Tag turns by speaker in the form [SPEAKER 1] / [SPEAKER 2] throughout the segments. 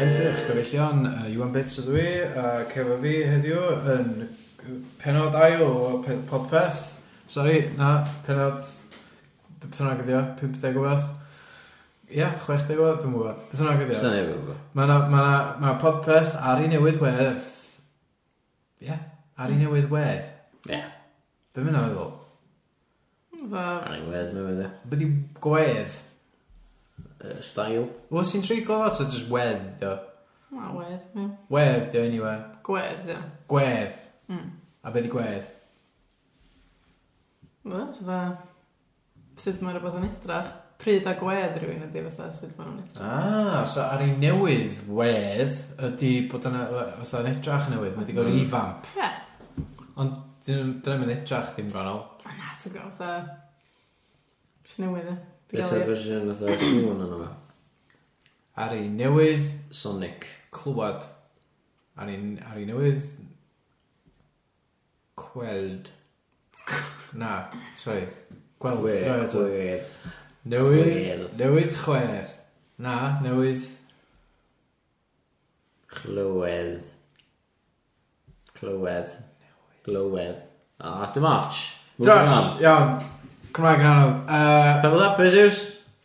[SPEAKER 1] Benthyg, gyfellion, yy, Iwan Bits ydw i, ac efo fi heddiw yn penod ail o pe- podpeth. Sori, na, penod, beth bynnag ydi o, 50 o beth. Ie, 60 o beth, dwi'n gwybod. Beth bynnag ydi o.
[SPEAKER 2] Sa'n ei fod.
[SPEAKER 1] Mae na, ma na, ma podpeth ar ei newydd wedd. Ie, ar ei newydd wedd.
[SPEAKER 2] Ie,
[SPEAKER 1] Be mynd o'n meddwl?
[SPEAKER 3] Fatha,
[SPEAKER 2] ar ein wedd newydd e.
[SPEAKER 1] Be di gwedd?
[SPEAKER 2] Yy, Style.
[SPEAKER 1] Wyt ti'n treiglo fo, ta jyst wedd, do?
[SPEAKER 3] na wedd, ie.
[SPEAKER 1] Wedd, do, anyway.
[SPEAKER 3] Gwedd, ie.
[SPEAKER 1] Gwedd.
[SPEAKER 3] Mm.
[SPEAKER 1] A be di gwedd?
[SPEAKER 3] Wel, fatha, sut mae rhywbeth yn edrach. Pryd a gwedd rhywun ydi fatha sut mae nhw'n edrach.
[SPEAKER 1] Ah, so ar ei newydd wedd ydi bod yna fatha yn edrach newydd, mae wedi gael
[SPEAKER 2] Mm.
[SPEAKER 1] revamp.
[SPEAKER 3] Ie.
[SPEAKER 1] Ond dyn- dyna mae'n edrach dim gwahanol.
[SPEAKER 3] A na, ti'n gwybod, fatha, sy'n newydd, e.
[SPEAKER 2] Beth yw'r fersiwn oedd o'r sŵn yna fe?
[SPEAKER 1] Ar ei newydd
[SPEAKER 2] Sonic.
[SPEAKER 1] clywed. Ar ei, ar ei newydd gweld. Na, sorry. Gweld.
[SPEAKER 2] Gwe-
[SPEAKER 1] sorry, eto.
[SPEAKER 2] gwe-
[SPEAKER 1] Newydd,
[SPEAKER 2] Gweld.
[SPEAKER 1] newydd chwer. Na, newydd
[SPEAKER 2] Clywed. Clywed. Glywed. Ah, dim arch.
[SPEAKER 1] Josh, iawn. Cymraeg yn anodd. Yy,
[SPEAKER 2] Pam oedd apus yws?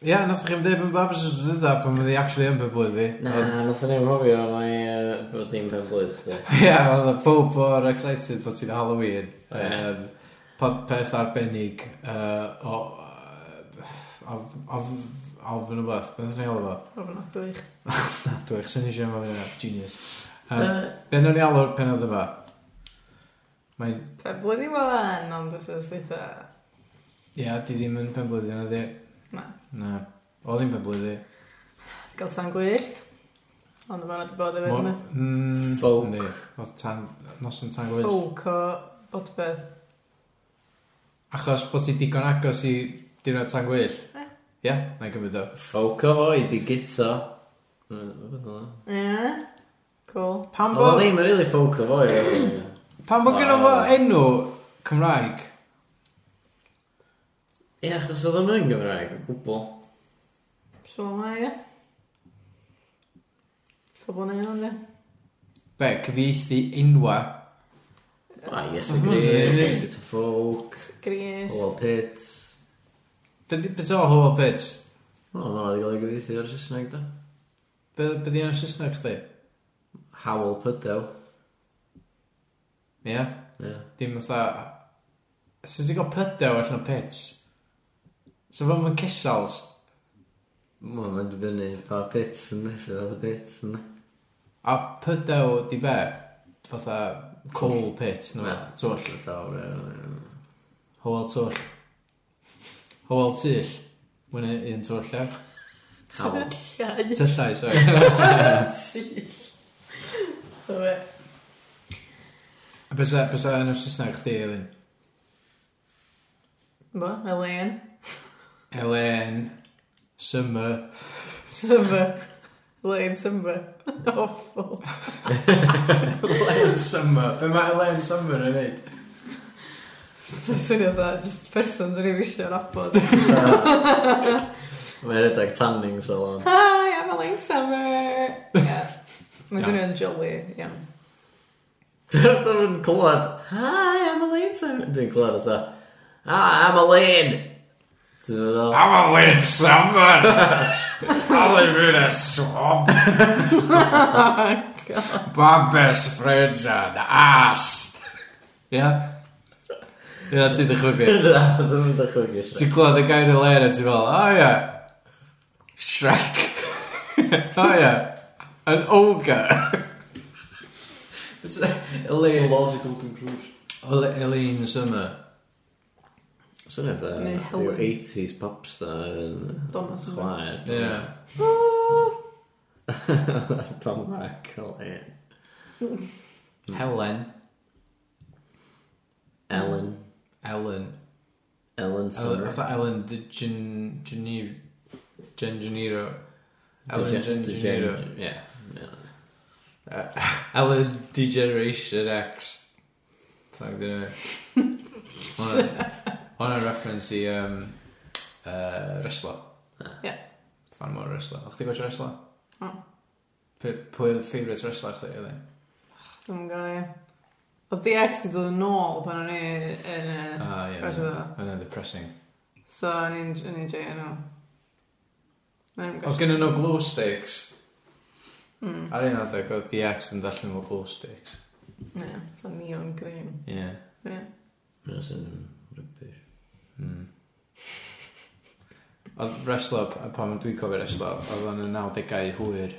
[SPEAKER 1] Ie, yeah, nath chi'n dweud yn babys yn dda pan fyddi actually yn pe blwydd
[SPEAKER 2] Na, nath o'n ei hofio mai yy, bod dim pen blwydd chdi.
[SPEAKER 1] Ie, oedd y pob o'r excited bod ti'n Halloween.
[SPEAKER 2] Ie.
[SPEAKER 1] Um, podpeth arbennig uh, o... o... o... o fy nhw'n beth ni'n alw fo?
[SPEAKER 3] Ofn adwych.
[SPEAKER 1] Na, dwi eich sy'n eisiau yma fyna, genius. Um,
[SPEAKER 2] Yy,
[SPEAKER 1] Beth ni'n alw'r penodd yma? Mae'n...
[SPEAKER 3] Pe blwyddyn wan, ond dwi'n sy'n dweitha,
[SPEAKER 1] Ie, di ddim yn pen blwyddyn, ydi?
[SPEAKER 3] na,
[SPEAKER 1] Na. O ddim pen blwyddyn.
[SPEAKER 3] ti'n gael tan gwyllt. Ond mae'n wedi bod efo
[SPEAKER 1] Mo-
[SPEAKER 3] yna.
[SPEAKER 1] Mm,
[SPEAKER 2] Folk.
[SPEAKER 1] yndi. Oedd tan... Nos yn tan gwyllt.
[SPEAKER 3] Ffwc o bodbeth.
[SPEAKER 1] Achos bod ti digon agos i diwrnod tan gwyll? Ie. Ie, na i gymryd o.
[SPEAKER 2] Ffawc o fo i di gito. Oedd
[SPEAKER 3] Ie. Cool.
[SPEAKER 1] Pan bod
[SPEAKER 2] ddim yn rili ffawc o fo i fo.
[SPEAKER 1] pan bod gynno fo enw Cymraeg?
[SPEAKER 2] Ie, achos oedd o'n yn Gymraeg, o gwbl.
[SPEAKER 3] So mae e. Pobl yn un o'n
[SPEAKER 1] Be, cyfieithu enwa?
[SPEAKER 2] Ah, yes,
[SPEAKER 1] Mhm.
[SPEAKER 2] agrees, bit of folk,
[SPEAKER 3] Gris.
[SPEAKER 2] all pits.
[SPEAKER 1] Be di beth o Howell Pits?
[SPEAKER 2] O, oh, mae'n gael ei gyfeithi ar Saesneg, da.
[SPEAKER 1] Be, be di enw Saesneg chdi?
[SPEAKER 2] Hawl Pydew.
[SPEAKER 1] Ie?
[SPEAKER 2] Ie.
[SPEAKER 1] Dim fatha... Sut ti'n gael pydew allan o Pits? So fo mae'n cysals?
[SPEAKER 2] Wel, mae'n dibynnu pa pits yn nes, oedd y pits yn
[SPEAKER 1] A pydew di be? Fatha coal pit, no? Twll.
[SPEAKER 2] y llawr.
[SPEAKER 1] Howell Twll. Howell Tyll. Wyna un twll, ie?
[SPEAKER 2] Hawl.
[SPEAKER 3] Tyllau.
[SPEAKER 1] Tyllau, sorry.
[SPEAKER 3] Tyll. So e.
[SPEAKER 1] A bysa, bysa yn yr Saesneg chdi, Elin?
[SPEAKER 3] Bo, Elaine.
[SPEAKER 1] Elen, Summer,
[SPEAKER 3] Symba. Elaine Symba. Awful.
[SPEAKER 1] Elen Summer. Be mae Elen Summer yn neud?
[SPEAKER 3] Swn i dda, er just person swn i wisio yn abod.
[SPEAKER 2] Mae'n rhedeg tanning salon.
[SPEAKER 3] Hi, I'm Elaine Summer. Ie. Mae'n swnio yn jolly, iawn.
[SPEAKER 2] Dwi'n clywed, hi, I'm Elaine. sir." Dwi'n clywed oedd ah, I'm Elaine. Dwi'n meddwl,
[SPEAKER 1] I'm Elen Summer! I live in a swamp. My best friend's an ass. Ia? Ia, ti ddychwygu.
[SPEAKER 2] na, dwi'n dychwyn gysio.
[SPEAKER 1] Ti'n clywed y gair Elen a ti'n fel, o ia, Shrek. O ia, Oh, an ogre.
[SPEAKER 2] Elaine.
[SPEAKER 4] logical conclusion.
[SPEAKER 1] Elen Summer.
[SPEAKER 2] Swn eitha,
[SPEAKER 3] Neu
[SPEAKER 2] rhyw
[SPEAKER 3] Helen.
[SPEAKER 2] 80s popstar yn
[SPEAKER 3] Donna Summer.
[SPEAKER 2] chwaer.
[SPEAKER 1] Ie.
[SPEAKER 2] Tom Macaulay.
[SPEAKER 1] Hmm. Helen.
[SPEAKER 2] Ellen.
[SPEAKER 1] Ellen.
[SPEAKER 2] Ellen
[SPEAKER 1] Ellen,
[SPEAKER 2] Summer.
[SPEAKER 1] fatha Ellen de Gen, Genir, Gen Geniro. Ellen Gen
[SPEAKER 2] Degen-
[SPEAKER 1] Geniro.
[SPEAKER 2] degen- Ie. ie.
[SPEAKER 1] Ellen Degeneration X. Thank you. On a reference i um, uh, wrestler.
[SPEAKER 2] Ah.
[SPEAKER 3] Ie.
[SPEAKER 1] Fan mor wrestler. O'ch ti'n gwybod wrestler?
[SPEAKER 3] O.
[SPEAKER 1] P- Pwy oedd favourite wrestler chdi, ydy?
[SPEAKER 3] Dwi'n gael. Oedd DX di dod yn ôl pan o'n i yn... yy,
[SPEAKER 1] Ah, ie.
[SPEAKER 3] Gwaith
[SPEAKER 1] Yna'n
[SPEAKER 3] oedd
[SPEAKER 1] yna depressing.
[SPEAKER 3] So, o'n i'n o'n i'n joio nhw. Na i'n
[SPEAKER 1] Oedd
[SPEAKER 3] gallu.
[SPEAKER 1] gynnyn nhw glow sticks.
[SPEAKER 3] Mm.
[SPEAKER 1] Ar un adeg, oedd DX yn darllen nhw glow sticks.
[SPEAKER 3] Ie, so neon green.
[SPEAKER 1] Ie. Yeah.
[SPEAKER 3] Ie.
[SPEAKER 2] Mae'n sy'n rybys.
[SPEAKER 1] Mm. Oedd wrestler, a pan dwi'n cofio wrestler, oedd o'n y 90au hwyr.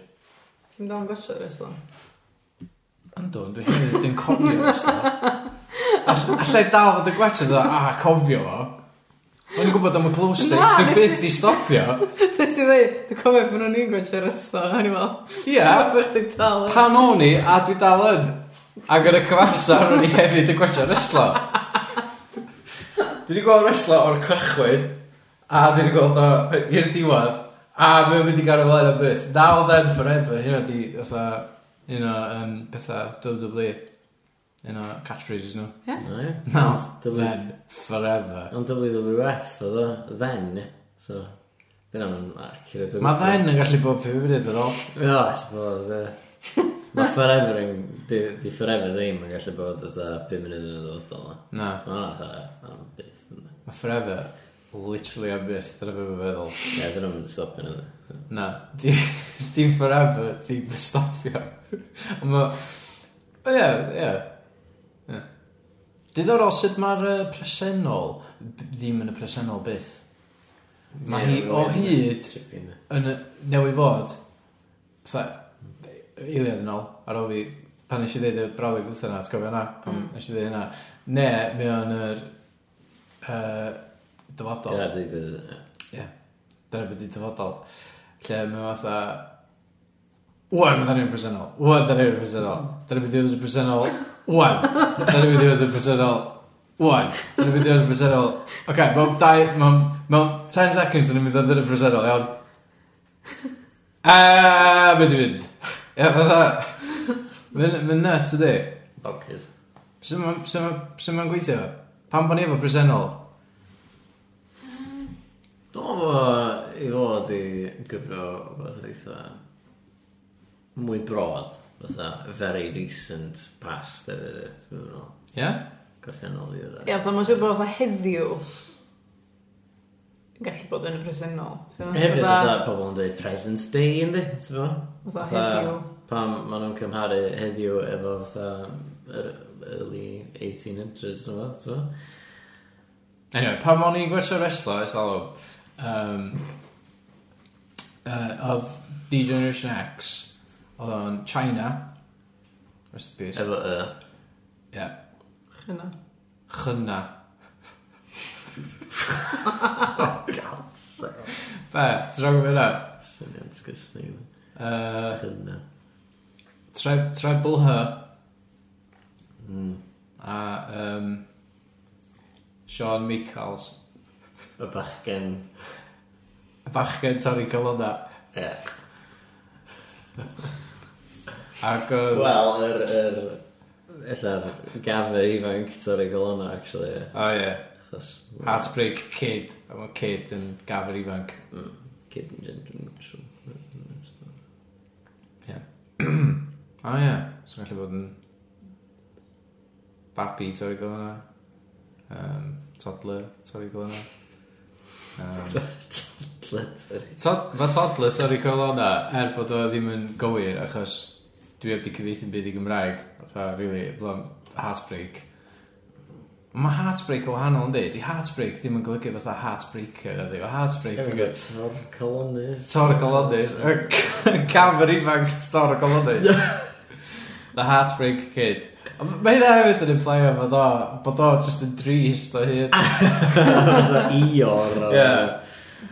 [SPEAKER 3] Ti'n dal yn gotcha ar yslo?
[SPEAKER 1] Ynddo, dwi'n hynny, dwi'n cofio wrestler. All- Allai dal fod y gwetio dda, a cofio fo. O'n i'n gwybod am y glow
[SPEAKER 3] Na,
[SPEAKER 1] sticks, dwi
[SPEAKER 3] nes i-
[SPEAKER 1] byth i stopio.
[SPEAKER 3] Nes i ddweud, dwi'n cofio pan o'n i'n gotcha ar yslo, o'n i'n fel...
[SPEAKER 1] Ie,
[SPEAKER 3] Dwi'n dal. yn-
[SPEAKER 1] pan o'n i, a dwi dal yn. Ac yn y cyfamsar, o'n i hefyd yn gwetio wrestler. Dwi wedi gweld wrestler o'r cychwyn, a dwi wedi gweld o i'r diwedd, a mae o'n mynd i gario fel yna byth. Now then forever, hynna di, fatha, un o um, pethau WWE, e. un o catchphrases nhw.
[SPEAKER 2] No, ie.
[SPEAKER 1] Now
[SPEAKER 2] W-
[SPEAKER 1] then forever.
[SPEAKER 2] Ond WWF oedd o, then, so... Dyna mae'n accurate. o
[SPEAKER 1] Mae
[SPEAKER 2] gwbl.
[SPEAKER 1] then yn gallu bod pum munud ar ôl.
[SPEAKER 2] Ie, Oh, I suppose, ie. Mae forever yn... Di, di forever ddim yn gallu bod ytha 5 munud yn y ddodol.
[SPEAKER 1] Na,
[SPEAKER 2] Mae hwnna ytha am byth. yndi?
[SPEAKER 1] mae forever literally am byth, dyna beth mae'n feddwl.
[SPEAKER 2] Ie, dyna mae'n stopio yna.
[SPEAKER 1] Na, di, di forever, di fy stopio. Ond ma... O ie, ie. Ie. Diddorol sut mae'r uh, presennol b- ddim yn y presennol byth. Mae hi o hyd
[SPEAKER 2] Tripping.
[SPEAKER 1] yn y newy fod, fatha, eiliad yn ôl, ar ôl fi, pan nes i ddeud y brawleg wrtho yna, ti'n gofio yna, pan
[SPEAKER 3] Mm.
[SPEAKER 1] nes i ddeud yna, ne, mae o'n yr uh, dyfodol.
[SPEAKER 2] Ie, digwydd, ie.
[SPEAKER 1] Dyna beth ydi dyfodol. Lle mae fatha... Wan, mae ni'n presennol. Wan, dyna ni'n presennol. Dyna beth yw'r presennol. Wan. Dyna beth yw'r presennol. Wan. Dyna beth yw'r presennol. Oce, mewn dau... Mewn mewn 10 seconds yn mynd o dyna presennol, iawn. A, beth i fynd. Ie, fatha... Mae'n mae'n nuts ydi.
[SPEAKER 2] Bonkers.
[SPEAKER 1] Sut ma- sut ma- sut ma'n gweithio? Pan bo'n i efo presennol?
[SPEAKER 2] Dwi'n meddwl i fod i gyfro fath eitha mwy broad, fatha very recent past hefyd, ie, ti'n meddwl,
[SPEAKER 1] Ie? Yeah?
[SPEAKER 2] gorffennol i ddod.
[SPEAKER 3] Ie, fatha, mae'n siŵr bod fatha heddiw. yn Gallu bod yn y presennol. So,
[SPEAKER 2] Hefyd, fatha pobl yn dweud present day, yndi, ti'n meddwl?
[SPEAKER 3] Fatha
[SPEAKER 2] fatha-
[SPEAKER 3] heddiw.
[SPEAKER 2] Pam maen nhw'n cymharu heddiw efo fatha yr early 1800s, ti'n meddwl, ti'n meddwl?
[SPEAKER 1] Anyway, pan o'n i'n gwerthio wrestler, ys dalwm, um, uh, oedd D-Generation X, oedd o'n China, rest in peace,
[SPEAKER 2] Efo y...
[SPEAKER 1] yeah,
[SPEAKER 3] Chyna.
[SPEAKER 1] Chyna,
[SPEAKER 3] Oh,
[SPEAKER 2] Godsa.
[SPEAKER 1] fe, sy'n rhaid gwybod hynna,
[SPEAKER 2] Syniad disgusting, yndi.
[SPEAKER 1] uh,
[SPEAKER 2] Chyna.
[SPEAKER 1] Tre- Treble H,
[SPEAKER 2] Mm.
[SPEAKER 1] a um, Sean Michaels,
[SPEAKER 2] Y bachgen.
[SPEAKER 1] y bachgen torri calona,
[SPEAKER 2] Ie.
[SPEAKER 1] ac oedd...
[SPEAKER 2] Wel, yr... yr... Ella'r gafr ifanc torri golona, actually. ie.
[SPEAKER 1] O ie,
[SPEAKER 2] Achos...
[SPEAKER 1] Heartbreak Kid, a mae Kid yn gafr ifanc.
[SPEAKER 2] Mm. Kid and gender neutral.
[SPEAKER 1] O ie, sy'n gallu bod yn babi torri gofyna, um, toddler torri gofyna. Um,
[SPEAKER 2] Letter.
[SPEAKER 1] tod, mae toddler torri gofyna er bod o ddim yn gywir achos dwi heb di cyfeithu'n byd i Gymraeg, fatha, really, blom, heartbreak. Mae heartbreak o wahanol yn dweud, di heartbreak ddim yn golygu fatha heartbreaker ydi, o heartbreak yn
[SPEAKER 2] Efo
[SPEAKER 1] golygu
[SPEAKER 2] tor colonus.
[SPEAKER 1] Tor y golodus, y c- camer ifanc tor y golodus. The Heartbreak Kid. Ond Mae hynna hefyd yn implio bod o, bod o just yn drist o hyd.
[SPEAKER 2] Efo ior. o-
[SPEAKER 1] Yeah.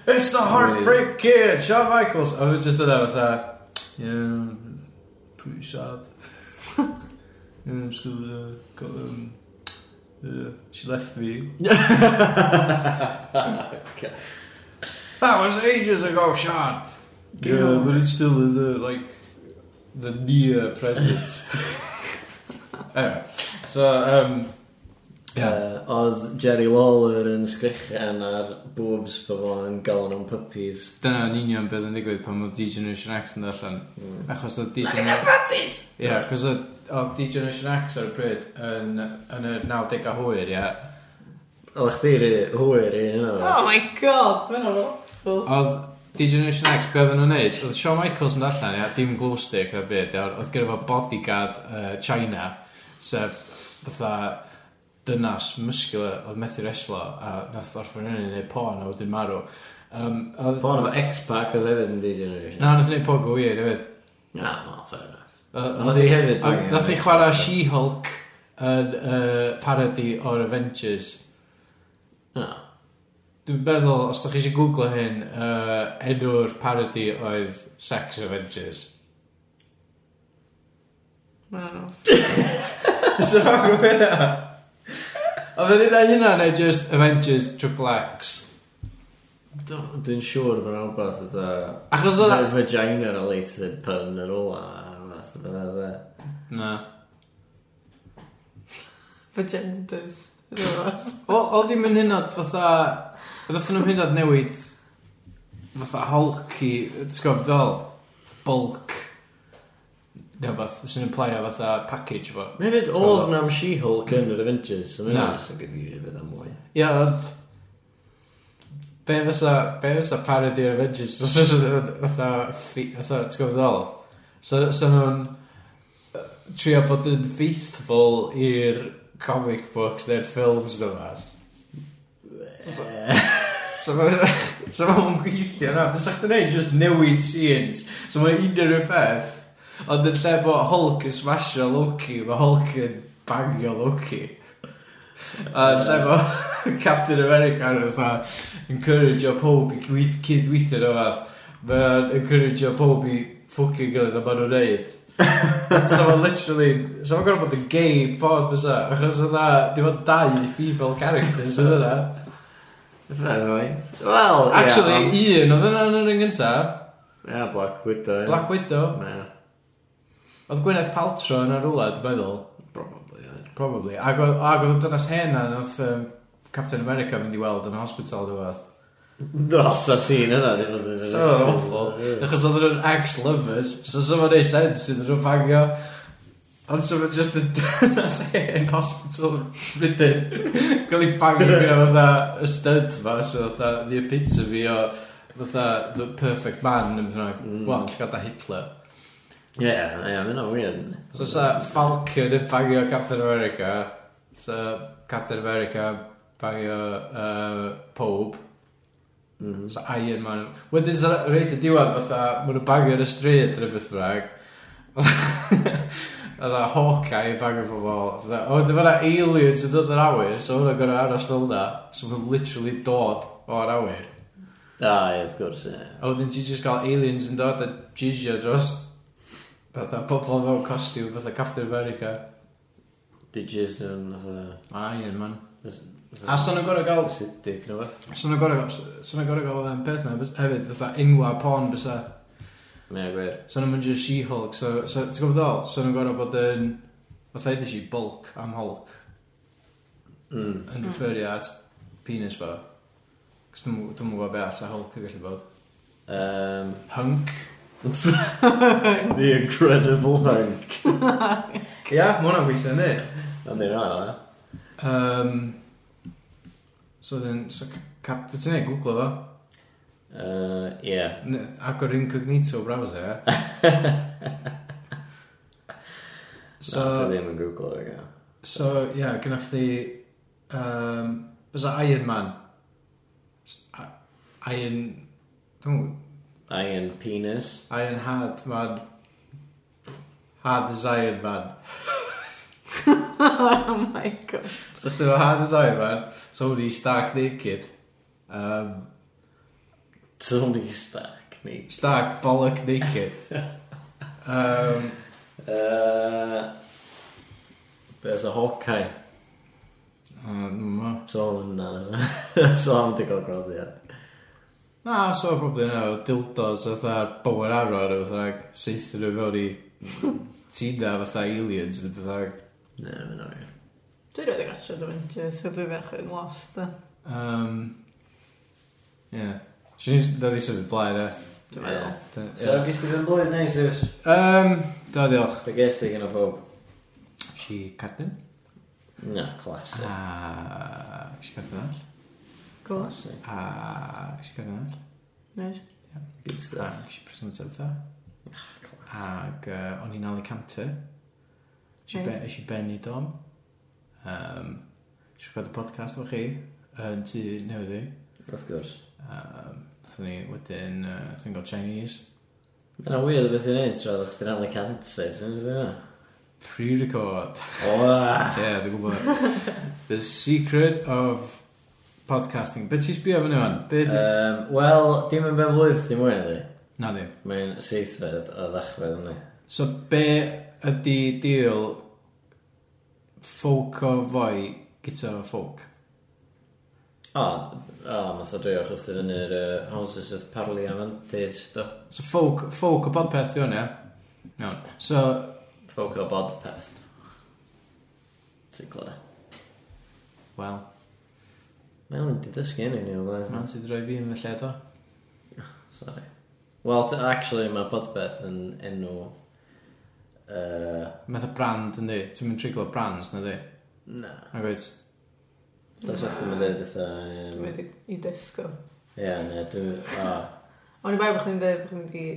[SPEAKER 1] It's the Heartbreak Kid, Shawn Michaels. A fe just yna fatha, yeah, pretty sad. yeah, I'm still, uh, got, um, uh, she left me.
[SPEAKER 2] e.
[SPEAKER 1] That was ages ago, Sean. Yeah, but it's still in the like the near present. anyway, so um, Ie.
[SPEAKER 2] Uh, oedd Jerry Lawler yn sgrichen ar boobs pobl yn galw nhw'n puppies.
[SPEAKER 4] Dyna yn union beth yn digwydd pan oedd D-Generation X yn allan.
[SPEAKER 2] Mm.
[SPEAKER 1] Achos oedd
[SPEAKER 3] Look
[SPEAKER 1] D-Gen...
[SPEAKER 3] at the puppies!
[SPEAKER 1] Ie, cos oedd oedd D-Generation X ar y bryd yn, yn y 90au hwyr, ie.
[SPEAKER 2] Oedd chdi ry hwyr i hynna. e?
[SPEAKER 3] Oh my god, mae'n awful.
[SPEAKER 1] Oedd D-Generation X, be oedden nhw'n neud? Oedd Shawn Michaels yn allan, ia, dim glow stick o'r byd, ia. Oedd gyda fo bodyguard uh, China, sef fatha dynas muscular oedd methu reslo a nath orffen yn ei wneud porn a wedyn marw. Um, oedd...
[SPEAKER 2] Porn efo X-Pac oedd hefyd yn D-Generation.
[SPEAKER 1] Na, nath ei wneud porn go wir, hefyd.
[SPEAKER 2] Na, no, fair enough.
[SPEAKER 1] Oedd-
[SPEAKER 2] Oedd hi hefyd.
[SPEAKER 1] A
[SPEAKER 2] angen-
[SPEAKER 1] Nath i chwarae She-Hulk yn uh, parody o'r Avengers.
[SPEAKER 2] Na.
[SPEAKER 1] Dwi'n meddwl, os da chi eisiau googlo hyn, uh, enw'r parody oedd Sex Avengers.
[SPEAKER 3] Mae'n awful.
[SPEAKER 1] Is it wrong with hynna? Oedd yn eitha hynna neu just Avengers Triple X?
[SPEAKER 2] Do- Dwi'n siŵr bod yna rhywbeth oedd
[SPEAKER 1] Achos oedd...
[SPEAKER 2] a vagina related pun yn ola. Rhywbeth bydda dde.
[SPEAKER 1] Na.
[SPEAKER 3] Vagendas. Ie,
[SPEAKER 1] O- Oedd ddim yn hynod fatha... Oedd nhw'n hynod newid fatha Hulk i... T'w gwybod ddol? Bulk. Neu beth, sy'n implio fatha package fo.
[SPEAKER 2] Hefyd,
[SPEAKER 1] So-
[SPEAKER 2] oedd na'm She-Hulk yn yr Avengers, so mae'n
[SPEAKER 1] Na.
[SPEAKER 2] just yn gyfeiriad beth am mwy.
[SPEAKER 1] Ia, ond... Be fysa, be fysa parody o'r Avengers? Os oes nhw'n fatha, ffi- fatha, ti'n gwybod ddol? So, so nhw'n yy, trio bod yn faithful i'r comic books neu'r films nhw fath. So mae'n so ma hwn gweithio na. Fysa chdi'n neud just newid scenes. So mae unrhyw beth. Ond yn lle bod Hulk yn smashio Loki, mae Hulk yn bangio Loki. A yn lle bod Captain America yn fatha encourage o pob i gweith- cydweithio na fath. Mae'n encourage o pob i ffwcio gilydd a maen nhw'n neud. so mae'n literally, so mae'n gorfod bod yn gay ffordd fysa, achos yna, dim ond dau female characters yn yna.
[SPEAKER 2] Fair point. Wel, ie,
[SPEAKER 1] Actually,
[SPEAKER 2] ond-
[SPEAKER 1] yeah, un, oedd yna yn yr un gynta,
[SPEAKER 2] Ie, Black Widow. ie.
[SPEAKER 1] Black Widow,
[SPEAKER 2] Na,
[SPEAKER 1] oedd Gwyneth Paltrow yn ar rwla, dwi'n meddwl,
[SPEAKER 2] probably, ie.
[SPEAKER 1] probably, ac oedd ac oedd y dynas hen na, oedd um, Captain America mynd i weld yn y hospital dwi'n fath.
[SPEAKER 2] Do, sa sîn yna, di fod yn...
[SPEAKER 1] So, oedd yn awful, achos oedd nhw'n ex-lovers, so so mae'n ei sens sydd nhw'n fangio, ond so mae'n just y dynas hen hospital rydyn, gael ei bangio gyda fatha y stud fa, so fatha the epitome o fatha the perfect man, yn fynnag,
[SPEAKER 2] Mm.
[SPEAKER 1] wel, llygada Hitler.
[SPEAKER 2] Ie, ie, mae'n o weird.
[SPEAKER 1] So sa Falcon yn bangio Captain America, sa Captain America bangio uh, Pope,
[SPEAKER 2] Mhm.
[SPEAKER 1] sa Iron Man. Wedyn sa reit y diwedd fatha, maen nhw'n bangio yn y stryd yn y beth brag. Oedd a Hawkeye yn bangio pobol. Fatha, O, dyma na aliens yn dod yr awyr, so hwnna'n gorau aros fel na. So maen nhw'n literally dod o'r awyr.
[SPEAKER 2] Da, ie, wrth gwrs, ie.
[SPEAKER 1] A wedyn ti just gael aliens yn dod a jizio dros fatha pobl mewn costiwm fatha Captain America.
[SPEAKER 2] Di jyst yn, fatha...
[SPEAKER 1] Iron Man.
[SPEAKER 2] fatha-
[SPEAKER 1] A son nhw'n gorau gael...
[SPEAKER 2] Acidic, neu beth.
[SPEAKER 1] Son nhw'n gorau gael... Son nhw'n gorau gael um, peth na bys- hefyd, fatha enwa porn bysa.
[SPEAKER 2] Ie, gwir.
[SPEAKER 1] Son nhw'n mynd i'r She-Hulk. So, so ti'n gwybod ddol? Son nhw'n gorau bod yn... Fatha edrych i bulk am Hulk.
[SPEAKER 2] Mm.
[SPEAKER 1] Yn referio at penis fo. Cos dwi'n dwi'n gwybod be at a Hulk yn gallu bod.
[SPEAKER 2] Um,
[SPEAKER 1] Hunk.
[SPEAKER 2] the Incredible Hulk.
[SPEAKER 1] Ia, yeah, mae hwnna'n gweithio ni.
[SPEAKER 2] Ond ni'n rhan, e?
[SPEAKER 1] Um, so then, so, cap, beth ti'n ei, googlo fo.
[SPEAKER 2] Uh, Ie.
[SPEAKER 1] Ne- Agor incognito browser, ia.
[SPEAKER 2] So...
[SPEAKER 1] so,
[SPEAKER 2] Na, dwi ddim yn e. googlo, ie.
[SPEAKER 1] So, ia, yeah, gynnaf chdi... Um, Fysa Iron Man. S- I- Iron... Dwi'n
[SPEAKER 2] Iron Penis.
[SPEAKER 1] Iron Hard Man. Hard as Iron Man.
[SPEAKER 3] oh my god.
[SPEAKER 1] So chdi efo Hard as Iron Man, Tony Stark Naked. Um,
[SPEAKER 2] Tony Stark, ni.
[SPEAKER 1] Stark Bollock Naked. um,
[SPEAKER 2] Uh, Be's a Hawkeye.
[SPEAKER 1] oh, dwi'm yn gwbo.
[SPEAKER 2] So hwnna. so am di gael gweld, ie.
[SPEAKER 1] Na, so probably yna, oedd dildos fatha bower arrow neu fatha seithio nhw fewn i tina fatha aliens neu fatha
[SPEAKER 2] Ne, mae'n oer.
[SPEAKER 3] Dwi roed i gatio Adventures, so dwi fach yn lost, da.
[SPEAKER 1] Um, yeah. Si'n ni'n dod i sefyd blaen, e?
[SPEAKER 3] Dwi'n meddwl.
[SPEAKER 1] Dy-
[SPEAKER 2] So, gys ti fy'n blwydd neis yw'r...
[SPEAKER 1] Um, da, diolch.
[SPEAKER 2] Be ges ti gen o bob?
[SPEAKER 1] Si cardyn?
[SPEAKER 2] Na, classic.
[SPEAKER 1] A... Si cardyn all?
[SPEAKER 3] Cool.
[SPEAKER 2] Classic.
[SPEAKER 1] A... Si cardyn all?
[SPEAKER 3] Nice.
[SPEAKER 2] Good stuff.
[SPEAKER 1] Ac si presentaf dda. Ac uh, o'n i'n Alicante. Si
[SPEAKER 3] Neis.
[SPEAKER 1] be, si benni dom. Um, si gwrdd y podcast efo chi. Yn tu newydd i.
[SPEAKER 2] Wrth gwrs.
[SPEAKER 1] Um, Nathon ni wedyn, uh, nathon ni gael Chinese.
[SPEAKER 2] Mae yna weird o beth i'n neud, tra ddech chi'n Alicante, sy'n ymwneud yna?
[SPEAKER 1] Pre-record.
[SPEAKER 2] O,
[SPEAKER 1] Yeah, dwi'n gwybod. The secret of podcasting. Be ti'n sbio fyny fan? Be ti...
[SPEAKER 2] Um, Wel, dim yn ben blwydd, dim mwy ydi.
[SPEAKER 1] Na di.
[SPEAKER 2] Mae'n seithfed a ddachfed yna.
[SPEAKER 1] So be ydi deal folk o foi gyda folk?
[SPEAKER 2] O, o, nath o drio achos ti fyny'r uh, Houses of Parliamentis, do.
[SPEAKER 1] So folk, folk o podpeth yw hwn, ia? Iawn. So,
[SPEAKER 2] Folk o Bodpeth. Ti'n clywed?
[SPEAKER 1] wel,
[SPEAKER 2] Mae'n mynd i dysgu hynny ni o
[SPEAKER 1] na
[SPEAKER 2] blaen.
[SPEAKER 1] ti droi fi yn y lle do?
[SPEAKER 2] Sorry. Wel, t- actually, mae Bodpeth yn enw... Uh,
[SPEAKER 1] Meth o brand yn di. Ti'n mynd triglo brands na di?
[SPEAKER 2] na.
[SPEAKER 1] Na gweud.
[SPEAKER 2] Dwi'n sach chi'n mynd i dweud
[SPEAKER 3] Dwi'n
[SPEAKER 2] eitha...
[SPEAKER 3] mynd i- i dysgu.
[SPEAKER 2] Ie, ne, dwi'n... O,
[SPEAKER 3] O'n i bai bod chdi'n dweud bod chdi'n mynd i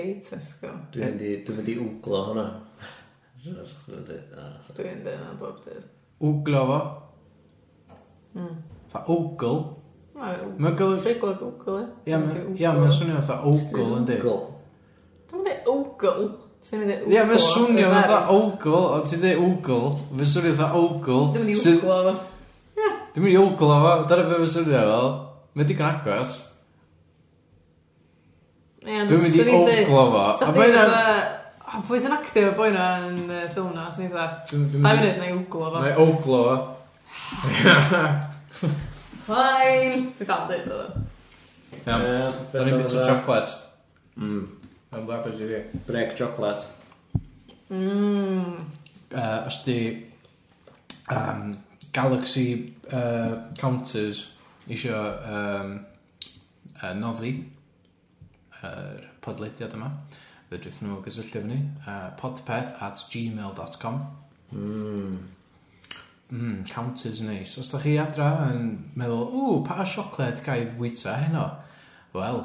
[SPEAKER 3] ei tesgo.
[SPEAKER 2] dwi'n mynd i... Dwi'n mynd i wglo hwnna. Dwi'n sach chi'n mynd i dweud... O, sorry.
[SPEAKER 3] Dwi'n dweud na bob dydd.
[SPEAKER 1] Wglo fo.
[SPEAKER 3] Mm.
[SPEAKER 1] Fa wgl.
[SPEAKER 3] Mae'n
[SPEAKER 1] Mae'n golyg...
[SPEAKER 3] triglo Google, e?
[SPEAKER 1] Ia, ma- ia, mae'n swnio fatha wgl yn di.
[SPEAKER 2] Wgl.
[SPEAKER 3] Dwi'n mynd i Google. Dwi'n mynd i Google.
[SPEAKER 1] Ie, mae'n swnio fatha ogl, ond ti'n dweud ogl, mae'n swnio fatha ogl.
[SPEAKER 3] Dwi'n mynd i
[SPEAKER 1] sydd-
[SPEAKER 3] Google efo.
[SPEAKER 1] Dwi'n mynd i ogl o fo, dyna beth mae'n swnio fel. Mae'n digon agos. Dwi'n mynd i ogl o fo.
[SPEAKER 3] Sa
[SPEAKER 1] A
[SPEAKER 3] chdi'n
[SPEAKER 1] mae'n...
[SPEAKER 3] dweud... Oh, pwy sy'n actio boi na yn y ffilm na, sy'n dweud. Da i fynd na i Google efo.
[SPEAKER 1] Mae ogl o fo.
[SPEAKER 3] Fine. Dwi'n dal dweud efo.
[SPEAKER 1] Iawn, Dwi'n mynd bit o chocolate.
[SPEAKER 2] Mm,
[SPEAKER 1] Yn blabers i fi.
[SPEAKER 2] breg chocolate.
[SPEAKER 3] Mmm.
[SPEAKER 1] Yy, Os di um, Galaxy uh, Counters isio um, uh, noddi yr podlediad yma, fedrwch nhw gysylltu efo ni, uh, podpeth at gmail.com
[SPEAKER 2] Mm.
[SPEAKER 1] Mm, counters neis. Os da chi adra yn meddwl, ww, pa siocled gael wyta heno? Wel,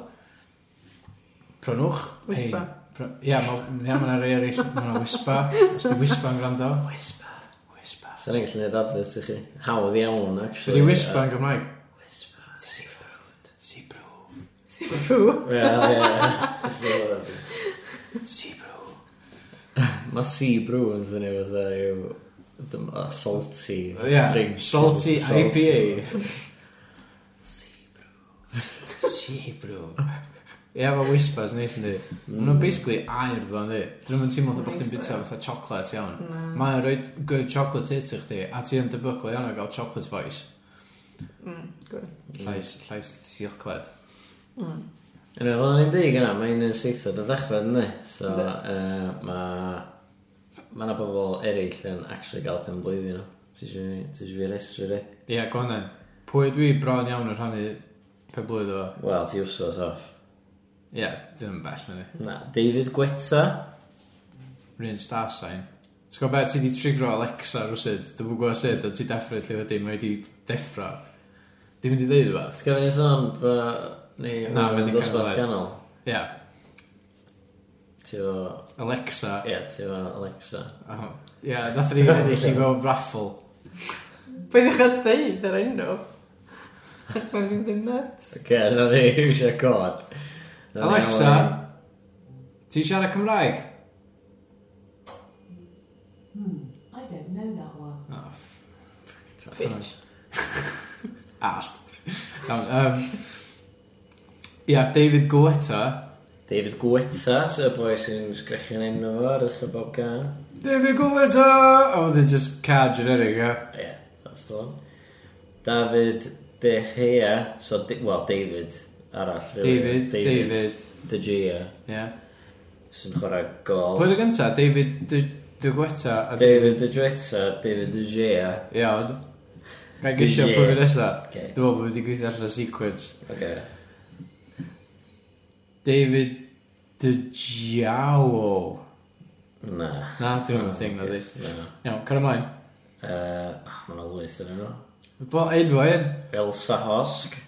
[SPEAKER 1] prynwch.
[SPEAKER 3] Wispa.
[SPEAKER 1] Hei, pr- Ia, ma- ia, mae'na rei eraill, mae'na wispa. Os di wispa'n gwrando. Wispa. Wispa.
[SPEAKER 2] Sa'n ni'n gallu gwneud adfod i chi. Hawdd iawn,
[SPEAKER 1] Ydy
[SPEAKER 2] actually.
[SPEAKER 1] wispa yn Gymraeg?
[SPEAKER 2] Wispa.
[SPEAKER 1] Sibrw.
[SPEAKER 3] Sy'n rhw.
[SPEAKER 2] Wel, ie.
[SPEAKER 1] Sibrw.
[SPEAKER 2] Mae sea brew yn syni fatha yw... dym- a Salty.
[SPEAKER 1] Ia,
[SPEAKER 2] drink.
[SPEAKER 1] salty IPA. Sibrw. Ia, mae wispas neis yn di. Mm. Nhw'n basically air fo, ynddi. Dyn nhw'n teimlo fatha bod chdi'n bita fatha chocolate iawn.
[SPEAKER 3] Na.
[SPEAKER 1] Mae'n rhoi good chocolate i ti chdi, a ti yn debygol iawn o gael chocolate voice.
[SPEAKER 3] Mm, good.
[SPEAKER 1] Llais, llais siogled.
[SPEAKER 3] Mm.
[SPEAKER 2] Yna, fel ni'n dig yna, mae'n un seithfed o ddechfed, ynddi? So, yy, mae... Mae yna bobl eraill yn actually gael pen blwyddyn nhw. Ti eisiau fi restru di?
[SPEAKER 1] Ie, yeah, gwanan. Pwy dwi bron iawn yn rhannu pe blwydd o.
[SPEAKER 2] Wel, ti wsos off.
[SPEAKER 1] Ie, yeah, ddim yn bell na ni.
[SPEAKER 2] Na, David Gweta.
[SPEAKER 1] Rhyn star sign. T'w gwybod beth ti di trigro Alexa rwsyd? Dwi'n mwyn gwybod sut, ond ti definitely wedi, mae wedi deffro. Dim wedi dweud rhywbeth.
[SPEAKER 2] Ti'n gofyn i sôn bod ni
[SPEAKER 1] Na, mae 'di
[SPEAKER 2] yn ddosbarth
[SPEAKER 1] canol.
[SPEAKER 2] ganol.
[SPEAKER 1] Ie, yeah,
[SPEAKER 2] Ti efo...
[SPEAKER 1] Alexa. Ie,
[SPEAKER 2] Ie, ti efo Alexa.
[SPEAKER 1] oh. yeah, nath ni ennill i mewn raffle.
[SPEAKER 3] Be ddech chi'n dweud ar enw? Mae'n mynd yn nuts.
[SPEAKER 2] Oce, na ni eisiau cod. Nawn ni
[SPEAKER 1] Alexa?
[SPEAKER 2] alw-
[SPEAKER 1] Ti siarad Cymraeg?
[SPEAKER 5] Hmm, I don't know that one.
[SPEAKER 1] Oh,
[SPEAKER 3] Bitch.
[SPEAKER 1] Ast. Iawn, yym, Ie, um, David Guetta.
[SPEAKER 2] David Gweta, sy'n boi sy'n sgrechu'n enw fo ar ddechrau bob gan.
[SPEAKER 1] David Guetta! A oh, they're just car generic, ie.
[SPEAKER 2] Ie, that's the one. David De Gea, so, Di- wel, David arall. really.
[SPEAKER 1] David, David.
[SPEAKER 2] De Gea,
[SPEAKER 1] Ie.
[SPEAKER 2] sy'n chwarae gol.
[SPEAKER 1] Pwy oedd y gynta? David... D- Dy gweta a
[SPEAKER 2] David y Dreta, David y Gea.
[SPEAKER 1] Iawn. Ga'i gysio
[SPEAKER 2] Yeah.
[SPEAKER 1] pwy fi nesa.
[SPEAKER 2] Okay.
[SPEAKER 1] Dwi'n meddwl bod fi wedi gweithio allan sequence.
[SPEAKER 2] Okay.
[SPEAKER 1] David Dy Giao.
[SPEAKER 2] Na.
[SPEAKER 1] Na, dwi'n meddwl thing na di. Iawn, car ymlaen.
[SPEAKER 2] Mae yna ah, lwyth yn yno.
[SPEAKER 1] Bo enw un.
[SPEAKER 2] Elsa Hosg.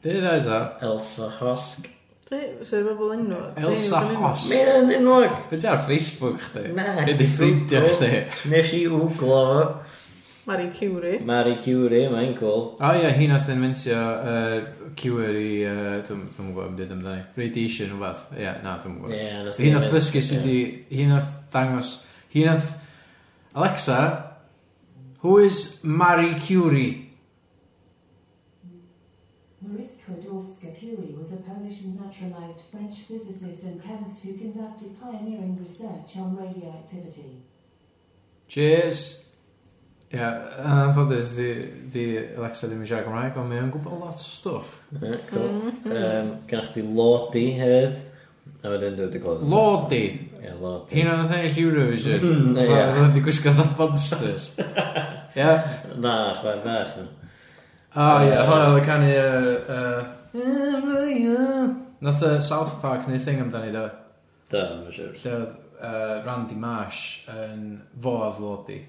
[SPEAKER 1] Dyn eto.
[SPEAKER 2] Elsa Hosg.
[SPEAKER 3] Dwi, sy'n bobl enw. Dwi-
[SPEAKER 1] Elsa
[SPEAKER 3] dwi'n enw.
[SPEAKER 1] Hos.
[SPEAKER 2] Mae'n yn enwog.
[SPEAKER 1] Be ti ar Facebook chdi?
[SPEAKER 2] Na.
[SPEAKER 1] Nid i ffrindio
[SPEAKER 2] Google.
[SPEAKER 1] chdi.
[SPEAKER 2] Nes i wglo fo.
[SPEAKER 3] Marie Curie.
[SPEAKER 2] Marie Curie, mae'n cool.
[SPEAKER 1] O ie, hi nath yn mentio uh, cywir i, uh, dwi'n dwi'n gwybod am byd amdani, radiation o beth, ie, na, dwi'n gwybod.
[SPEAKER 2] Ie, nath
[SPEAKER 1] Hi nath
[SPEAKER 2] hi-
[SPEAKER 1] ddysgu sydd i, hi nath dangos, hi nath, Alexa, who is Marie Curie?
[SPEAKER 6] Marie Skłodowska Curie was a Polish and naturalized French physicist and chemist who conducted pioneering research on radioactivity.
[SPEAKER 1] Cheers. Ie, yn anffodus, di, di Alexa ddim yn siarad Gymraeg, ond mae'n gwybod lot o stwff.
[SPEAKER 2] Ie, cool.
[SPEAKER 3] Mm-hmm.
[SPEAKER 2] Um, Yym, Gynna chdi Lodi hefyd. A wedyn dwi'n dwi'n clywed.
[SPEAKER 1] Lodi,
[SPEAKER 2] Ie, Lodi.
[SPEAKER 1] hi nath ennill Eurovision,
[SPEAKER 2] Mm, ie.
[SPEAKER 1] oedd wedi gwisgo dda monsters. Ie,
[SPEAKER 2] Na, chwer bach.
[SPEAKER 1] O ie, hwnna oedd y canu yy, yy, Nath y South Park neu thing amdani ddo
[SPEAKER 2] Da, mae'n siwr.
[SPEAKER 1] Lle oedd yy, Randy Marsh yn fo a flodi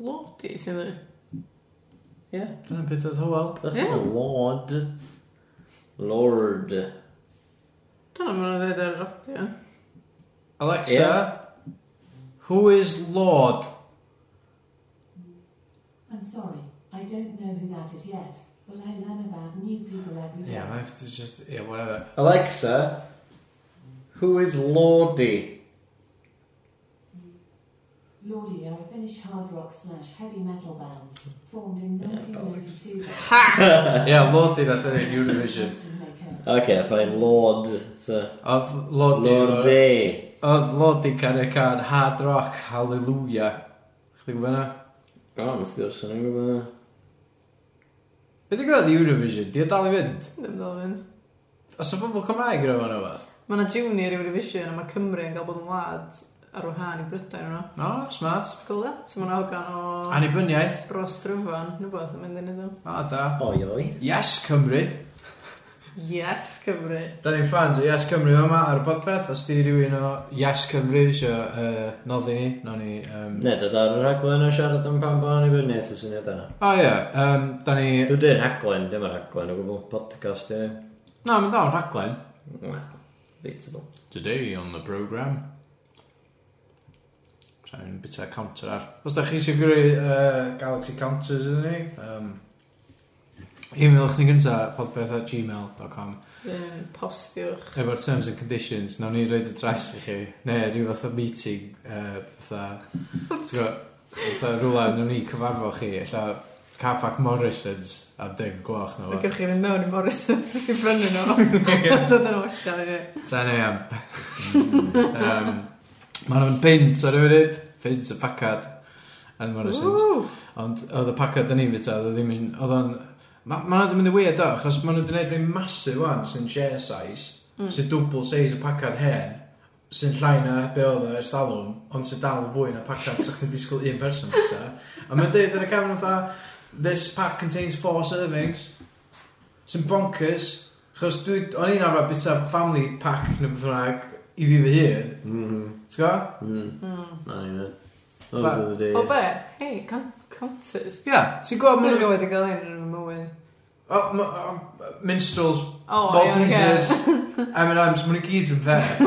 [SPEAKER 3] Lodi, sy'n dweud.
[SPEAKER 2] Ie.
[SPEAKER 1] Dyna beth oedd Howell
[SPEAKER 2] Beth
[SPEAKER 3] Ie.
[SPEAKER 2] yna Lord. Lord.
[SPEAKER 3] Dyna maen nhw'n dweud ar y radio.
[SPEAKER 1] Alexa,
[SPEAKER 2] Ie.
[SPEAKER 1] who is Lord?
[SPEAKER 6] I'm sorry, I don't know who that is yet, but I learn about new people every day.
[SPEAKER 1] Ie, yeah, it's just, ie, yeah, whatever
[SPEAKER 2] Alexa, who is Lordy?
[SPEAKER 6] Lordi are a Finnish hard rock slash heavy metal band formed in
[SPEAKER 2] Yeah,
[SPEAKER 6] 1992.
[SPEAKER 1] Ie, yeah, Lordi nath ennill Eurovision
[SPEAKER 2] Okay, fine, Lord. So,
[SPEAKER 1] Oedd Lordi
[SPEAKER 2] Lordy.
[SPEAKER 1] Oedd Lordi can y can Hard Rock Hallelujah Chdi gwybod na?
[SPEAKER 2] O, oh, wrth gwrs, yn gwybod.
[SPEAKER 1] Be di gwybod Eurovision? Di o dal i fynd?
[SPEAKER 3] Ddim ddol fynd.
[SPEAKER 1] Os o bobl Cymraeg yn o'n o'n o'n
[SPEAKER 3] Mae yna junior Eurovision a mae Cymru yn cael bod yn wlad ar wahân i Brydain yno.
[SPEAKER 1] O, smart
[SPEAKER 3] Gwylda? So mae'n awgan o...
[SPEAKER 1] Annibyniaeth
[SPEAKER 3] Bros dryfan, neu beth, yn mynd i neud o.
[SPEAKER 1] O, da.
[SPEAKER 2] Oi, oi.
[SPEAKER 1] Yes, Cymru.
[SPEAKER 3] Yes, Cymru.
[SPEAKER 1] Da ni'n fans o Yes Cymru yma ar y podpeth. Os di rhywun o Yes Cymru isio uh, noddi ni, no ni... Um...
[SPEAKER 2] Ne, dod ar y rhaglen o siarad am pan bo'n i fyny, eithaf syniad da.
[SPEAKER 1] O ie, um, da ni...
[SPEAKER 2] Dwi'n dweud rhaglen, dim y rhaglen o gwbl. Podcast, ie.
[SPEAKER 1] Na, mynd o'n rhaglen.
[SPEAKER 2] Wel, beatable.
[SPEAKER 1] Today on the program. Sa'n bita counter ar.
[SPEAKER 7] Os da chi eisiau gyrru uh, Galaxy Counters iddyn ni, um,
[SPEAKER 1] Emailwch ni gynta podpeth at gmail.com
[SPEAKER 3] Yn postiwch.
[SPEAKER 1] Efo'r terms and conditions, nawn ni roed y dres i chi. Neu rhyw fath o meeting, uh, fatha, ti'n gwybod, fatha rhywle, nawn ni cyfarfo chi, illa Capac Morrisons am deg y gloch na
[SPEAKER 3] Mae
[SPEAKER 1] fo.
[SPEAKER 3] gwych chi fynd mewn i Morrisons i brynu nhw. Dod yn wella, ie.
[SPEAKER 1] 10 am.
[SPEAKER 2] Mm-hmm.
[SPEAKER 1] um, Mae nhw'n pint ar y funud, pint y pacad yn Morrisons.
[SPEAKER 3] Ww!
[SPEAKER 1] Ond oedd y pacad yn ni bita, oedd o ddim yn, oedd o'n, ma, ma nhw wedi mynd yn weird o, achos ma nhw wedi gwneud rhywun massive wan sy'n share size,
[SPEAKER 3] Mm.
[SPEAKER 1] sy'n double size y pacad hen, sy'n llai na be oedd o ers dalwm, ond sy'n dal yn fwy na pacad sy'ch chi'n disgwyl un person bita. A mae'n dweud yn y cefn fatha, this pack contains four servings, sy'n bonkers, achos dwi, o'n i'n arfer bita family pack neu beth bynnag, i fi fy hun,
[SPEAKER 2] Mhm.
[SPEAKER 1] ti'n gwybod?
[SPEAKER 2] Mm. Na, i fynd. Those
[SPEAKER 1] Tla-
[SPEAKER 2] are the days.
[SPEAKER 3] Hmm. O be? Hei, can- counters.
[SPEAKER 1] Ia, ti'n gwybod,
[SPEAKER 3] Mae'n
[SPEAKER 1] ma' nhw-
[SPEAKER 3] rhywbeth i gael hyn yn fy mywyd.
[SPEAKER 1] o, ma- o, minstrels,
[SPEAKER 3] O, ie,
[SPEAKER 1] Boltons,
[SPEAKER 3] ie.
[SPEAKER 1] M&M's, maen nhw gyd yn peth.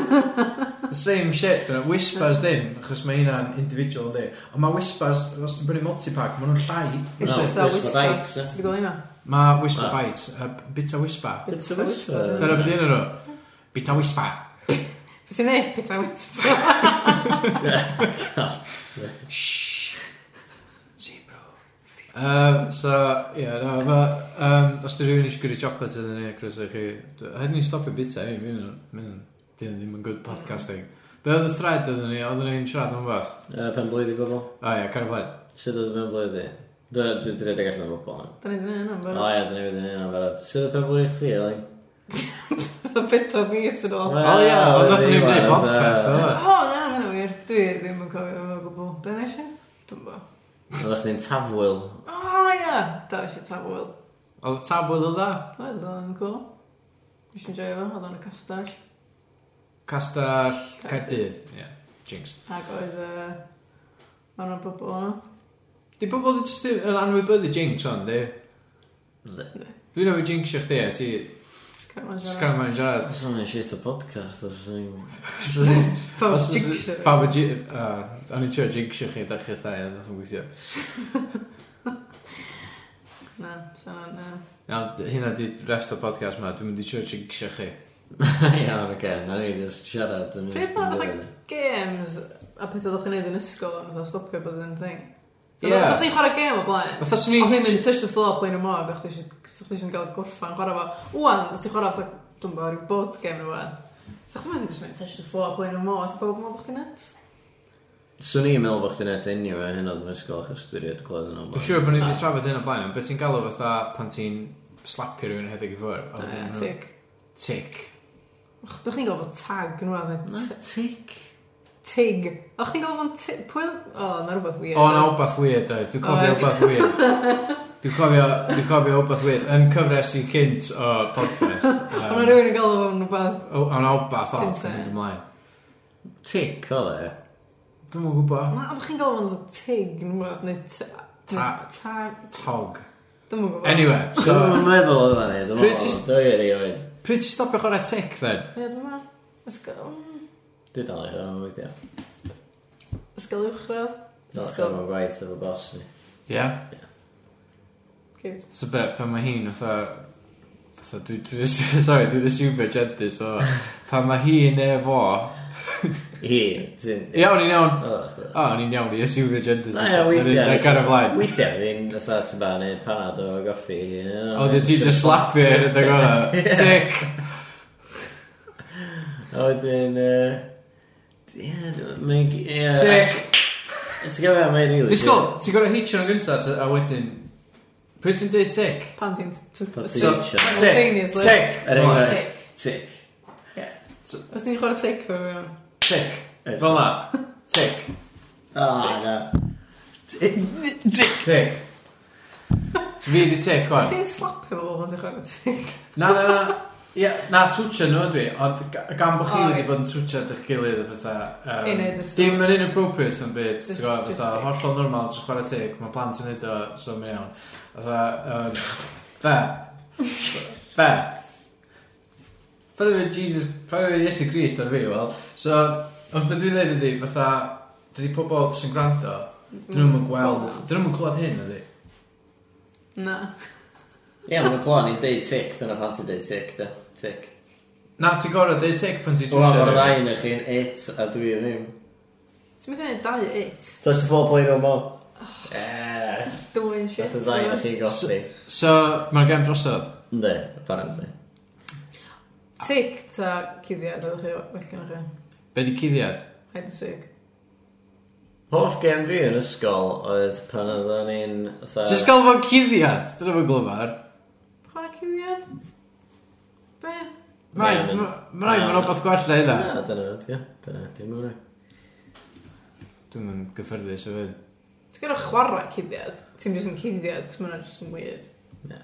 [SPEAKER 1] The same shit, dyna. Whispers ddim, achos mae hynna'n individual yndi. Ond mae Whispers, os ti'n brynu multipack, maen nhw'n llai.
[SPEAKER 2] No,
[SPEAKER 3] Whisper,
[SPEAKER 2] whisper
[SPEAKER 3] whisper.
[SPEAKER 2] bites, eh?
[SPEAKER 3] Ti wedi gweld hynna?
[SPEAKER 1] Mae Whisper
[SPEAKER 2] Ah.
[SPEAKER 1] Bites, a bita Whisper.
[SPEAKER 2] Bits of whisper.
[SPEAKER 1] Dyna beth yna nhw. Bita Whisper.
[SPEAKER 3] Beth i'n neud? Beth i'n whisper?
[SPEAKER 1] Shhh. Zero. Um, so, ie, yeah, no, ma, um, os dy rhywun eisiau gyrru chocolate iddyn ni, Chris, ych chi, hyd ni'n stopio bita, ei, mi'n ddim ddim yn good podcasting. Be oedd y thread oedden ni, oedden ni'n siarad am fath?
[SPEAKER 2] Yy, Pen blwydd i bobl.
[SPEAKER 1] O ie, car y blaen.
[SPEAKER 2] Sut oedd pen blwydd i? Dwi wedi rhedeg allan o bobl.
[SPEAKER 3] Da ni ddim yn hynna,
[SPEAKER 2] O
[SPEAKER 3] bwrdd.
[SPEAKER 2] ia, dyn ni wedi neud o'n barod. Sut oedd pen blwydd chdi, Elin?
[SPEAKER 3] Oedd bit o mis yn ôl.
[SPEAKER 1] O ia, o, nathon ni'n gwneud podpeth,
[SPEAKER 3] O, na, mae'n wir. Dwi ddim yn cofio. be nes i? Dwi'n bo.
[SPEAKER 2] Oedd chdi'n tafwyl.
[SPEAKER 3] O, ia! Da, eisiau tafwyl.
[SPEAKER 1] Oedd y tabwyl o dda?
[SPEAKER 3] Oedd o'n cool. Nes i'n joio fo, oedd o'n y castell.
[SPEAKER 1] Castell Caerdydd. Ie, jinx.
[SPEAKER 3] Ac oedd... yy, Ma' nhw'n bobl o'n...
[SPEAKER 1] Di bobl ddim jyst yn anwybyddu jinx ond, di? Dwi'n newid jinxio chdi, a ti
[SPEAKER 3] Scarman.
[SPEAKER 1] sgan ma'n siarad.
[SPEAKER 2] Os o'n i'n shit o podcast, os o'n i'n...
[SPEAKER 3] Pam
[SPEAKER 1] Os- os-
[SPEAKER 3] jinxio fi?
[SPEAKER 1] Pam y jinx... O'n i'n siarad jinxio chi, da chi'ch dau, a ddoth yn gweithio.
[SPEAKER 3] Na, sa'n...
[SPEAKER 1] Iawn, d- hynna di rest o podcast ma, dwi'n mynd i siarad jinxio chi.
[SPEAKER 2] Iawn, oce, na ni just siarad. yn-
[SPEAKER 3] Pryd ma' fatha games a pethau ddech chi'n neud yn ysgol am fatha stopio bod yn thing? So,
[SPEAKER 1] Ie.
[SPEAKER 3] yeah. Ddech chi'n chwarae game o blaen?
[SPEAKER 1] Fatha swn
[SPEAKER 3] O'ch
[SPEAKER 1] i'n...
[SPEAKER 3] chi'n mynd touch the floor playing a mog, o'ch chi'n cael gorffan chwarae fo. Wan, os ti'n chwarae fatha, dwi'n bo, rhyw board game o fan. So, chdi'n meddwl jyst mynd touch the floor playing a mog, os bawb yn meddwl bod chdi'n net?
[SPEAKER 2] Swn i'n meddwl bod chdi'n et enw e hyn oedd mewn sgol achos dwi'n rhaid clywed yn
[SPEAKER 1] Dwi'n
[SPEAKER 2] o'n
[SPEAKER 1] siŵr bod ni wedi trafod hyn o blaen, ond beth ti'n galw fatha pan ti'n slapio rhywun heddig i ffwr? A
[SPEAKER 3] Na,
[SPEAKER 1] wedyn
[SPEAKER 3] ie,
[SPEAKER 1] ma' nhw-
[SPEAKER 3] tig.
[SPEAKER 1] Tic.
[SPEAKER 3] Och, Ddech chi'n gael fod tag yn rhaid?
[SPEAKER 2] tic.
[SPEAKER 3] Tig. O'ch chi'n gael fod tig? Pwy? O, na rhywbeth weird.
[SPEAKER 1] O, na wbath weird, oedd. Dwi'n cofio
[SPEAKER 3] Oedd.
[SPEAKER 1] wbath weird. Dwi'n cofio, dwi'n cofio wbath weird. Yn cyfres i cynt o podpeth.
[SPEAKER 3] O, na rhywun yn gael fod rhywbeth.
[SPEAKER 1] O, o'n wbath o,
[SPEAKER 3] Cynt,
[SPEAKER 1] dwi'n mynd
[SPEAKER 3] ie.
[SPEAKER 1] ymlaen.
[SPEAKER 2] Tic, oedd e.
[SPEAKER 1] Dwi'n mwyn gwybod.
[SPEAKER 3] Na, o'ch chi'n gael fod tig yn rhaid? Neu ta-
[SPEAKER 1] Ta-
[SPEAKER 3] tag?
[SPEAKER 1] Tog.
[SPEAKER 3] Dwi'n mwyn gwybod.
[SPEAKER 1] Anyway,
[SPEAKER 2] So,
[SPEAKER 1] so,
[SPEAKER 2] dwi'n meddwl oedd e, dwi'n
[SPEAKER 1] Pryd
[SPEAKER 2] meddwl,
[SPEAKER 1] ti-
[SPEAKER 2] dwi'n erioed.
[SPEAKER 1] pryd ti'n stopio chwarae tic, then?
[SPEAKER 3] Ie, dyma. Ysgol... mm,
[SPEAKER 2] Dwi'n dal i hwn o'n weithio.
[SPEAKER 3] Ysgol uwchradd.
[SPEAKER 2] Dal i
[SPEAKER 3] Ysgol...
[SPEAKER 2] hwn o'n gwaith efo bos mi.
[SPEAKER 1] Ie. Yeah.
[SPEAKER 3] Cute.
[SPEAKER 1] So, be, pan mae hi'n fatha... Fatha, dwi- dwi'n... Sorry, dwi'n aswmio gently, so... Pan mae hi neu fo...
[SPEAKER 2] Hi, ti'n... e.
[SPEAKER 1] Ie, o'n i'n iawn.
[SPEAKER 2] O,
[SPEAKER 1] O, o'n i'n iawn, i aswmio gently.
[SPEAKER 2] Na ia, weithiau.
[SPEAKER 1] Na, gan y blaen.
[SPEAKER 2] Weithiau, fi'n fatha ti'n ba, neu panad o goffi. you know.
[SPEAKER 1] O, dwi'n ti just slapio i'r edrych o'na. Tic.
[SPEAKER 2] A wedyn, yy, ie, mae'n... g- ie,
[SPEAKER 1] Tic.
[SPEAKER 2] a- Ti'n gofio, mae'n rili...
[SPEAKER 1] Disgwyl, ti'n gorau hitio nhw'n gyntaf a wedyn... Pryd ti'n dweud tic?
[SPEAKER 3] Pan ti'n...
[SPEAKER 2] Pan ti'n-
[SPEAKER 3] So-
[SPEAKER 1] tic,
[SPEAKER 3] Simultaneously.
[SPEAKER 1] tic,
[SPEAKER 2] Er enghraifft,
[SPEAKER 3] Tic.
[SPEAKER 2] tic.
[SPEAKER 3] Os ti'n chwarae tic fe mewn.
[SPEAKER 1] tic, fel na, tic,
[SPEAKER 2] O, na. Tic.
[SPEAKER 1] tic. So fi di tic, o'n.
[SPEAKER 3] Ti'n slapio fo pan ti'n chwarae tic.
[SPEAKER 1] Na, na, na. Ie, na, twtio nhw ydw i, ond ga- gan bod chi
[SPEAKER 3] O,
[SPEAKER 1] wedi
[SPEAKER 3] ie.
[SPEAKER 1] bod yn twtio ydych gilydd a bethau.
[SPEAKER 3] I neud y sŵn.
[SPEAKER 1] Dim yn inappropriate yn byd, ti'n
[SPEAKER 3] Just-
[SPEAKER 1] gwybod,
[SPEAKER 3] just
[SPEAKER 1] bethau
[SPEAKER 3] tic.
[SPEAKER 1] hollol normal, jyst chwarae tic, mae plant yn neud o, so mae'n iawn. Bethau, be, be, Fydde fe Jesus, fydde fe Iesu Grist ar fi, wel. So, ond beth dwi'n dweud ydi, fatha, dydi pobol sy'n gwrando, dyn nhw'n mynd gweld, dyn nhw'n mynd clywed hyn ydi.
[SPEAKER 3] Na.
[SPEAKER 2] Ie, mae'n clon i'n deud tic, dyna pan ti'n deud tic, da. Tic.
[SPEAKER 1] Na, ti'n gorau, dweud tig pan ti'n
[SPEAKER 2] Wel, mae'r
[SPEAKER 1] twitio.
[SPEAKER 2] ddau yn eich un it, a dwi ddim.
[SPEAKER 3] Ti'n mynd i'n dau it.
[SPEAKER 2] Touch the floor, play no more. Yes.
[SPEAKER 3] Dwi'n shit.
[SPEAKER 2] Nath y ddau yn eich un goffi.
[SPEAKER 1] So, mae'r gem drosod.
[SPEAKER 2] Ynddi, apparently.
[SPEAKER 3] Tic ta cuddiad oedd chi well gen chi.
[SPEAKER 1] Be di cuddiad?
[SPEAKER 3] Haid y sig.
[SPEAKER 2] Hoff gen fi yn ysgol oedd pan oedden ni'n... fatha-
[SPEAKER 1] Ti'n gael fo'n cuddiad? Dyna fo'n glyfar.
[SPEAKER 3] Chwarae cuddiad? Be?
[SPEAKER 1] Mae'n
[SPEAKER 2] Ie,
[SPEAKER 1] rhaid,
[SPEAKER 2] mae'n-
[SPEAKER 1] mae'n rhaid, mae'n rhaid gwell na hynna.
[SPEAKER 2] Na, dyna fyd, ie. Dyna, dim yn
[SPEAKER 1] Dwi'n mynd gyffyrddus o fyd.
[SPEAKER 3] Ti'n gyda chwarae cuddiad? Ti'n jyst yn cuddiad, cos mae'n just yn weird.
[SPEAKER 2] Ie.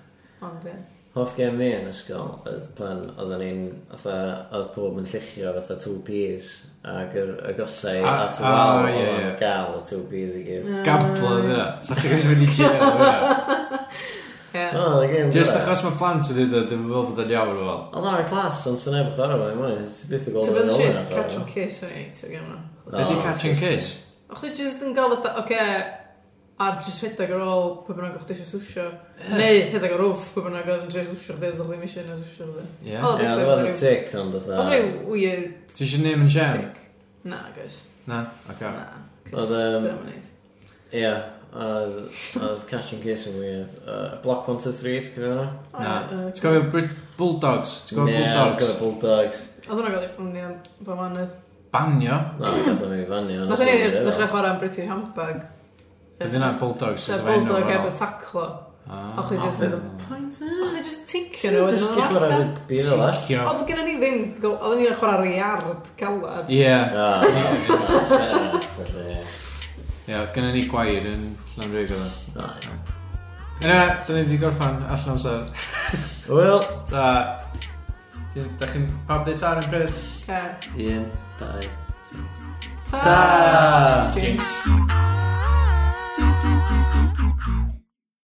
[SPEAKER 3] Ond ie.
[SPEAKER 2] Hoff gen fi yn ysgol oedd pan oedden ni'n... Fatha, oedd pob yn llichio fatha 2p's ac yr agosau
[SPEAKER 1] A-
[SPEAKER 2] at y
[SPEAKER 1] a,
[SPEAKER 2] wal
[SPEAKER 1] ie,
[SPEAKER 2] oedd yn
[SPEAKER 1] ie.
[SPEAKER 2] gael y 2p's i gyd.
[SPEAKER 1] Gablo oedd hynna. Sa chi'n gallu mynd i jail o hynna.
[SPEAKER 3] Ie.
[SPEAKER 2] O, oedd y gêm
[SPEAKER 1] Just
[SPEAKER 2] gorau.
[SPEAKER 1] achos mae plant yn neud o, dwi'n meddwl bod o'n iawn o fel.
[SPEAKER 2] Oedd o'n clas, ond sy'n efo chwarae fe, mwy. Ti'n byth o
[SPEAKER 3] Ti'n
[SPEAKER 2] gweld yn
[SPEAKER 3] bydd yn
[SPEAKER 2] ôl
[SPEAKER 3] shit
[SPEAKER 2] yna,
[SPEAKER 3] catch and
[SPEAKER 2] chwarae.
[SPEAKER 3] kiss o'n i, ti'n gwybod
[SPEAKER 2] O,
[SPEAKER 1] Be di catch and
[SPEAKER 2] just-
[SPEAKER 1] kiss?
[SPEAKER 3] O'ch chi jyst yn gael fatha, oce, ar jyst rhedeg ar ôl pwy bynnag o'ch eisiau swsio. Neu rhedeg ar wrth pwy bynnag oedd yn dreis swsio chdi, oedd ddim eisiau na swsio chdi.
[SPEAKER 1] Ie.
[SPEAKER 3] O,
[SPEAKER 2] Ie,
[SPEAKER 3] obviously,
[SPEAKER 2] oedd o'n
[SPEAKER 3] oedd
[SPEAKER 2] tic, ond oedd
[SPEAKER 3] Oedd rhyw weird
[SPEAKER 1] Ti eisiau name and shame?
[SPEAKER 3] tic. Na, guys.
[SPEAKER 1] Na, oce.
[SPEAKER 3] Na.
[SPEAKER 2] Oedd, yym,
[SPEAKER 3] Dwi'n
[SPEAKER 2] Ie, oedd oedd catch and kiss yn weird. Uh, Block 1 to 3, ti'n cofio hwnna?
[SPEAKER 1] Na. Ti'n gofio Brit Bulldogs? Ti'n gofio
[SPEAKER 2] Ie,
[SPEAKER 1] Bulldogs?
[SPEAKER 2] gofio Bulldogs.
[SPEAKER 3] Oedd hwnna'n gael ei ffwni am bo manydd.
[SPEAKER 1] Banio?
[SPEAKER 2] Na, gath o'n ei fannu. ond
[SPEAKER 3] Nath ni
[SPEAKER 2] oedd o'n weird,
[SPEAKER 3] ddechrau chwarae am British Handbag.
[SPEAKER 1] Ydy hynna Bulldogs?
[SPEAKER 3] Sa'r bulldog efo taclo.
[SPEAKER 1] Ah.
[SPEAKER 3] O'ch chi jyst yn... O'ch chi jyst ticio nhw.
[SPEAKER 2] Ti'n dysgu
[SPEAKER 3] wedyn oedd nhw'n
[SPEAKER 2] chwarae
[SPEAKER 3] allan.
[SPEAKER 2] rygbi fel all?
[SPEAKER 1] Ticio.
[SPEAKER 3] Oedd gen i ni ddim... Oedd ni'n chwarae ar iard galad.
[SPEAKER 1] Ie.
[SPEAKER 2] O,
[SPEAKER 1] Ie, oedd gynnu ni gwair yn Llanrug oedd.
[SPEAKER 2] Right.
[SPEAKER 1] Yna, da ni wedi gorffan allan amser.
[SPEAKER 2] Wel,
[SPEAKER 1] Da, ti'n- da chi'n pab deud tar yn pryd?
[SPEAKER 3] Cer.
[SPEAKER 2] un, dau,
[SPEAKER 3] Ta!
[SPEAKER 2] Ta!
[SPEAKER 3] Jinx.
[SPEAKER 1] Jinx.